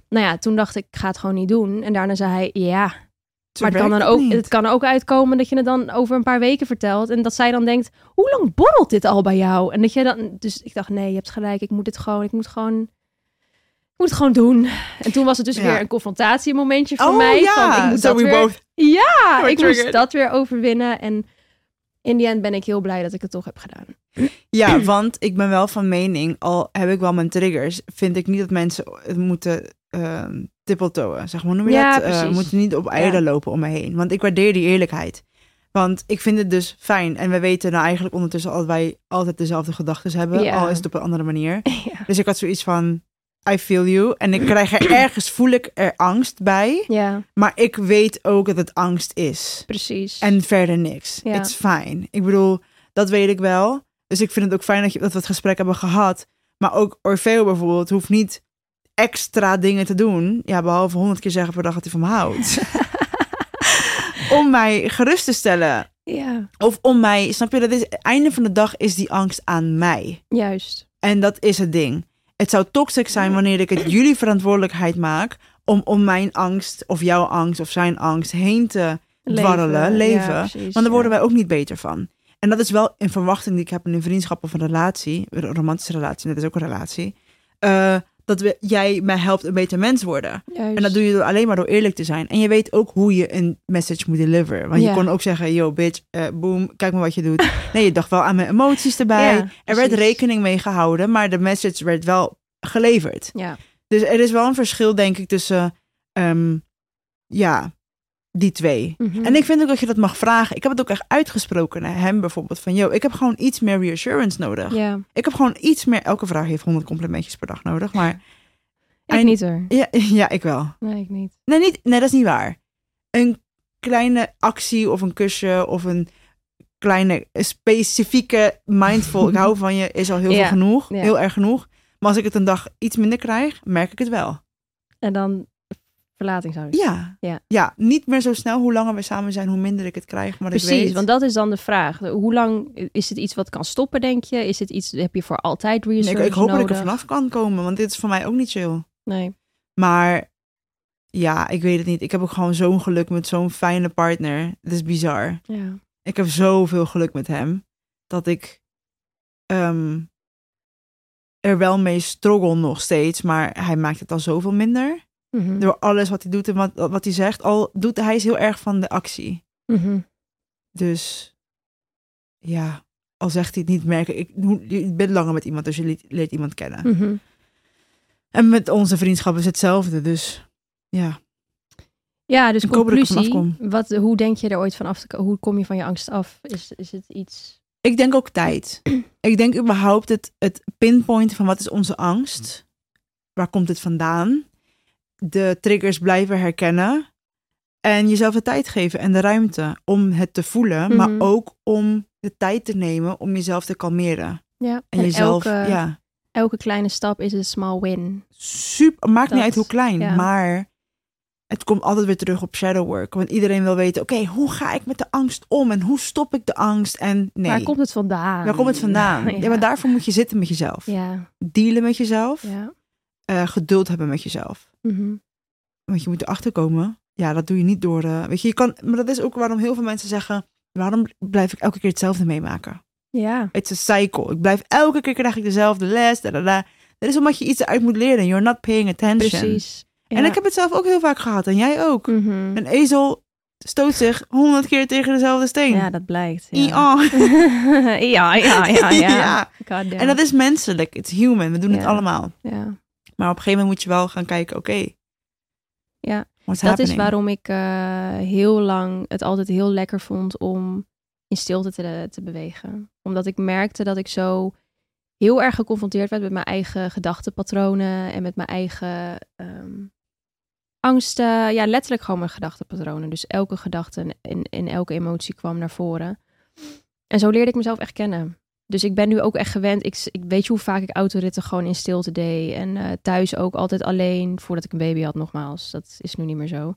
S2: nou ja, toen dacht ik, ik ga het gewoon niet doen. En daarna zei hij, ja, maar het kan, dan ook, het kan er ook uitkomen dat je het dan over een paar weken vertelt. En dat zij dan denkt, hoe lang borrelt dit al bij jou? En dat je dan... Dus ik dacht, nee, je hebt gelijk. Ik moet het gewoon... Ik moet gewoon... Ik moet het gewoon doen. En toen was het dus
S1: Ja.
S2: weer een confrontatiemomentje voor
S1: oh,
S2: mij.
S1: ja.
S2: Van, ik moet
S1: So
S2: dat
S1: we
S2: weer,
S1: both-
S2: ja,
S1: were
S2: Ah, ik moest
S1: triggered.
S2: dat weer overwinnen. En in die end ben ik heel blij dat ik het toch heb gedaan.
S1: Ja, want ik ben wel van mening, al heb ik wel mijn triggers, vind ik niet dat mensen eh, het moeten ehm tippeltoeën. Zeg maar, hoe noem je
S2: Ja,
S1: dat? Eh,
S2: precies.
S1: we moeten niet op eieren lopen om me heen. Want ik waardeer die eerlijkheid. Want ik vind het dus fijn. En we weten nou eigenlijk ondertussen al dat wij altijd dezelfde gedachten hebben,
S2: Ja.
S1: al is het op een andere manier.
S2: Ja.
S1: Dus ik had zoiets van, I feel you. En ik krijg er ergens, voel ik er angst bij.
S2: Ja,
S1: Maar ik weet ook dat het angst is.
S2: precies.
S1: En verder niks.
S2: Ja.
S1: It's fine. Ik bedoel, Dat weet ik wel. Dus ik vind het ook fijn dat, je, dat we het gesprek hebben gehad. Maar ook Orfeo bijvoorbeeld hoeft niet extra dingen te doen. Ja, behalve honderd keer zeggen per dag dat hij van me houdt. om mij gerust te stellen.
S2: Ja,
S1: Of om mij, snap je, dat is, het einde van de dag is die angst aan mij.
S2: juist.
S1: En dat is het ding. Het zou toxic zijn wanneer ik het jullie verantwoordelijkheid maak om om mijn angst of jouw angst of zijn angst heen te. Dwarrelen, leven.
S2: Ja, precies,
S1: Want daar worden
S2: ja.
S1: wij ook niet beter van. En dat is wel een verwachting die ik heb in een vriendschap of een relatie, een romantische relatie, net is ook een relatie, eh, dat we, jij mij helpt een beter mens worden.
S2: Juist.
S1: En dat doe je door, alleen maar door eerlijk te zijn. En je weet ook hoe je een message moet deliveren. Want
S2: Ja.
S1: je kon ook zeggen, yo bitch, eh, boom, kijk maar wat je doet. Nee, je dacht wel aan mijn emoties erbij.
S2: Ja,
S1: er werd
S2: precies.
S1: rekening mee gehouden, maar de message werd wel geleverd.
S2: Ja,
S1: Dus er is wel een verschil, denk ik, tussen ehm, ja, die twee.
S2: mhm.
S1: En ik vind ook dat je dat mag vragen. Ik heb het ook echt uitgesproken naar hem bijvoorbeeld. Van, yo, ik heb gewoon iets meer reassurance nodig.
S2: ja,
S1: Ik heb gewoon iets meer... Elke vrouw heeft 100 complimentjes per dag nodig. Maar
S2: ik
S1: En-
S2: niet hoor.
S1: ja, ja ik wel.
S2: Nee, ik niet.
S1: Nee, niet, nee, dat is niet waar. Een kleine actie of een kusje of een kleine specifieke mindful... ik hou van je, is al heel
S2: Ja,
S1: veel genoeg.
S2: ja.
S1: Heel erg genoeg. Maar als ik het een dag iets minder krijg, merk ik het wel.
S2: En dan verlatingsangst.
S1: Ja.
S2: Ja.
S1: ja niet meer zo snel. Hoe langer we samen zijn, hoe minder ik het krijg. Maar ik
S2: Precies,
S1: weet...
S2: want dat is dan de vraag. Hoe lang is het iets wat kan stoppen, denk je? Is het iets, heb je voor altijd
S1: Nee, ik,
S2: research
S1: ik hoop dat
S2: nodig?
S1: ik er vanaf kan komen, want dit is voor mij ook niet chill.
S2: Nee,
S1: Maar ja, ik weet het niet. Ik heb ook gewoon zo'n geluk met zo'n fijne partner. Het is bizar.
S2: ja.
S1: Ik heb zoveel geluk met hem dat ik ehm, er wel mee struggle nog steeds. Maar hij maakt het al zoveel minder.
S2: Mhm.
S1: Door alles wat hij doet en wat, wat hij zegt. Al doet hij is heel erg van de actie.
S2: Mhm.
S1: Dus ja, al zegt hij het niet, merk ik. ik hoe- je bent langer met iemand, dus je leert- leert iemand kennen.
S2: Mhm.
S1: En met onze vriendschap is hetzelfde. Dus ja,
S2: Ja, dus
S1: Ik hoop dat ik er vanaf
S2: conclusie. Wat, hoe denk je er ooit van af te ko- Hoe kom je van je angst af? Is, is het iets...
S1: ik denk ook tijd. ik denk überhaupt het, het pinpointen van wat is onze angst? Waar komt het vandaan? De triggers blijven herkennen. En jezelf de tijd geven en de ruimte om het te voelen,
S2: Mhm.
S1: maar ook om de tijd te nemen om jezelf te kalmeren.
S2: Ja.
S1: En, jezelf,
S2: elke,
S1: ja,
S2: elke kleine stap is een small win.
S1: super, maakt
S2: Dat,
S1: niet uit hoe klein,
S2: ja.
S1: maar het komt altijd weer terug op shadow work. Want iedereen wil weten, oké, hoe ga ik met de angst om en hoe stop ik de angst? En nee,
S2: Waar komt het vandaan?
S1: Waar komt het vandaan?
S2: Ja.
S1: Ja. maar daarvoor moet je zitten met jezelf.
S2: Ja,
S1: Dealen met jezelf.
S2: ja.
S1: eh, geduld hebben met jezelf.
S2: Mhm.
S1: Want je moet erachter komen. Ja, dat doe je niet door. eh, weet je, je kan, maar dat is ook waarom heel veel mensen zeggen: waarom blijf ik elke keer hetzelfde meemaken?
S2: Ja,
S1: It's a cycle. Ik blijf elke keer krijg ik dezelfde les. Da, da, da. Dat is omdat je iets eruit moet leren. You're not paying attention.
S2: precies.
S1: En
S2: Ja.
S1: ik heb het zelf ook heel vaak gehad. En jij ook.
S2: Mhm.
S1: Een ezel stoot zich honderd keer tegen dezelfde steen.
S2: Ja, dat blijkt. Ja,
S1: Ja.
S2: ja, ja, ja. ja.
S1: E Ja. En dat is menselijk. It's human. We doen het
S2: Ja.
S1: allemaal.
S2: ja.
S1: Maar op een gegeven moment moet je wel gaan kijken, oké.
S2: Ja,
S1: what's
S2: Dat is
S1: happening?
S2: waarom ik eh, heel lang het altijd heel lekker vond om in stilte te, te bewegen. Omdat ik merkte dat ik zo heel erg geconfronteerd werd met mijn eigen gedachtenpatronen en met mijn eigen ehm, angsten. Ja, letterlijk gewoon mijn gedachtenpatronen. Dus elke gedachte en- en, en elke emotie kwam naar voren. En zo leerde ik mezelf echt kennen. Dus ik ben nu ook echt gewend. Ik, s- ik weet je hoe vaak ik autoritten gewoon in stilte deed. En eh, thuis ook altijd alleen. Voordat ik een baby had, nogmaals. Dat is nu niet meer zo.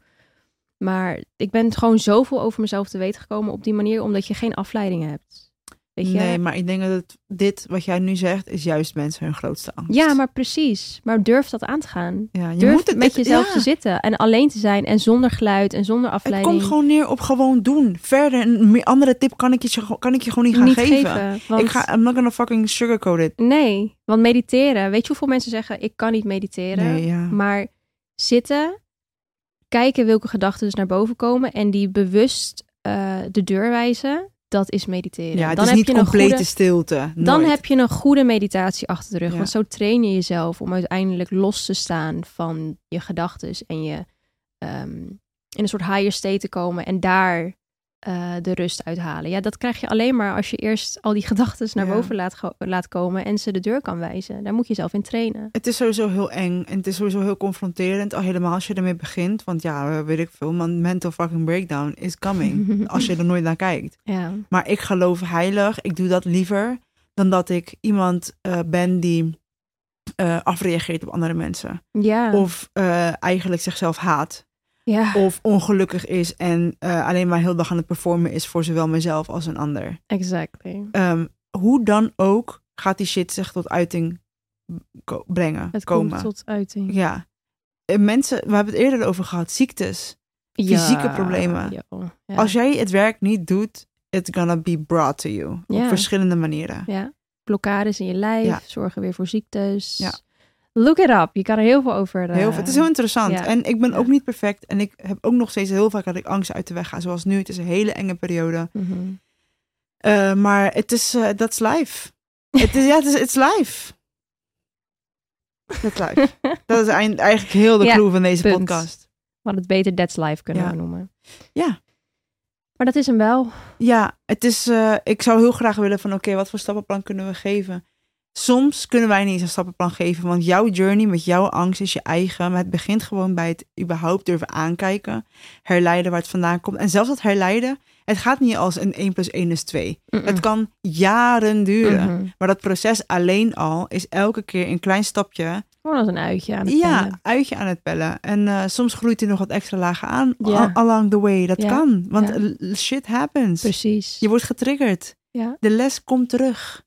S2: Maar ik ben gewoon zoveel over mezelf te weten gekomen op die manier. Omdat je geen afleidingen hebt. Weet je?
S1: Nee, maar ik denk dat het- dit wat jij nu zegt, is juist mensen hun grootste angst.
S2: Ja, maar precies. Maar durf dat aan te gaan.
S1: Ja, je
S2: Durf
S1: moet het
S2: met
S1: het-
S2: jezelf
S1: ja,
S2: te zitten. En alleen te zijn. En zonder geluid. En zonder
S1: Het
S2: afleiding.
S1: komt gewoon neer op gewoon doen. Verder, een meer- andere tip kan ik je, zo- kan ik je gewoon niet gaan
S2: niet
S1: geven.
S2: geven. want-
S1: Ik ga, I'm not gonna fucking sugarcoat it.
S2: Nee, want mediteren. Weet je hoeveel mensen zeggen: ik kan niet mediteren.
S1: Nee, ja.
S2: Maar zitten, kijken welke gedachten dus naar boven komen en die bewust eh, de deur wijzen, dat is mediteren.
S1: ja, het
S2: dan
S1: is
S2: heb
S1: niet
S2: je een
S1: complete
S2: goede,
S1: stilte.
S2: dan
S1: Nooit.
S2: heb je een goede meditatie achter de rug.
S1: Ja.
S2: Want zo train je jezelf om uiteindelijk los te staan van je gedachten en je ehm, in een soort higher state te komen en daar eh, de rust uithalen. Ja, dat krijg je alleen maar als je eerst al die gedachten naar
S1: Ja.
S2: boven laat, go- laat komen en ze de deur kan wijzen. Daar moet je zelf in trainen.
S1: Het is sowieso heel eng en het is sowieso heel confronterend, al helemaal als je ermee begint. Want ja, eh, weet ik veel, man, mental fucking breakdown is coming, als je er nooit naar kijkt.
S2: Ja,
S1: Maar ik geloof heilig, ik doe dat liever dan dat ik iemand eh, ben die eh, afreageert op andere mensen.
S2: ja.
S1: Of eh, eigenlijk zichzelf haat.
S2: ja
S1: Of ongelukkig is en eh, alleen maar heel dag aan het performen is voor zowel mezelf als een ander.
S2: exactly.
S1: Ehm, hoe dan ook gaat die shit zich tot uiting ko- brengen.
S2: Het
S1: komen.
S2: komt tot uiting.
S1: Ja. En mensen, we hebben het eerder over gehad, ziektes. fysieke problemen.
S2: Ja, joh. ja.
S1: Als jij het werk niet doet, it's gonna be brought to you. Op
S2: Ja.
S1: verschillende manieren.
S2: ja. blokkades in je lijf
S1: Ja.
S2: zorgen weer voor ziektes.
S1: Ja.
S2: Look it up. Je kan er heel veel over. eh,
S1: Heel veel- het is heel interessant.
S2: ja.
S1: En ik ben
S2: Ja.
S1: ook niet perfect. En ik heb ook nog steeds heel vaak dat ik angsten uit de weg ga. Zoals nu, het is een hele enge periode.
S2: Mhm.
S1: Eh, maar het is, eh, that's life. Het is, ja, het is it's life. That's life. dat is eind- eigenlijk heel de
S2: Ja,
S1: clue van deze
S2: punt.
S1: podcast.
S2: We hadden het beter That's Life kunnen
S1: Ja.
S2: we noemen.
S1: Ja.
S2: Maar dat is hem wel.
S1: Ja, het is, eh, ik zou heel graag willen van oké, wat voor stappenplan kunnen we geven? Soms kunnen wij niet eens een stappenplan geven, want jouw journey met jouw angst is je eigen. Maar het begint gewoon bij het überhaupt durven aankijken, herleiden waar het vandaan komt. En zelfs dat herleiden, het gaat niet als een 1 plus 1 is 2.
S2: Mm.
S1: Het kan jaren duren.
S2: Mhm.
S1: Maar dat proces alleen al is elke keer een klein stapje,
S2: Gewoon als een uitje aan het
S1: ja,
S2: pellen.
S1: uit je aan het pellen. En eh, soms groeit hij nog wat extra lagen aan
S2: Ja.
S1: al- along the way. Dat
S2: Ja.
S1: kan, want
S2: Ja.
S1: l- shit happens.
S2: Precies.
S1: Je wordt getriggerd.
S2: Ja.
S1: De les komt terug.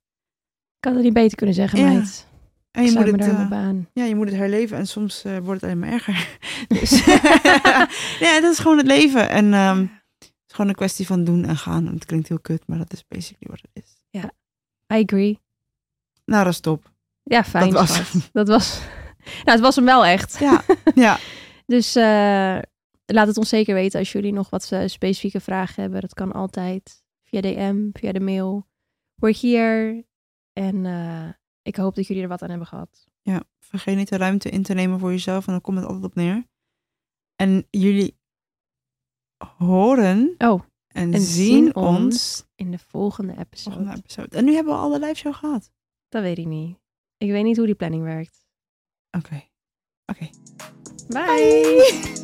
S2: Ik had het niet beter kunnen zeggen,
S1: Ja.
S2: meid.
S1: En
S2: Ik
S1: je
S2: sluit
S1: moet,
S2: me
S1: het,
S2: daar helemaal
S1: eh,
S2: bij aan.
S1: ja, je moet het herleven en soms eh, wordt het alleen maar erger. Dus ja, dat is gewoon het leven. En ehm, het is gewoon een kwestie van doen en gaan. En het klinkt heel kut, maar dat is basically wat het is.
S2: I agree.
S1: Nou, dat is top.
S2: Ja, fijn.
S1: Dat was
S2: schat. Dat was... Nou, het was hem wel echt.
S1: Ja, ja.
S2: Dus eh, laat het ons zeker weten als jullie nog wat eh, specifieke vragen hebben. Dat kan altijd via DM, via de mail. We're here. En eh, ik hoop dat jullie er wat aan hebben gehad.
S1: ja. Vergeet niet de ruimte in te nemen voor jezelf. En dan komt het altijd op neer. En jullie horen
S2: Oh,
S1: en,
S2: en
S1: zien
S2: zien
S1: ons,
S2: ons in de volgende episode.
S1: volgende episode. En nu hebben we al de live show gehad.
S2: Dat weet ik niet. Ik weet niet hoe die planning werkt.
S1: Oké. Oké.
S2: Bye.
S1: Bye.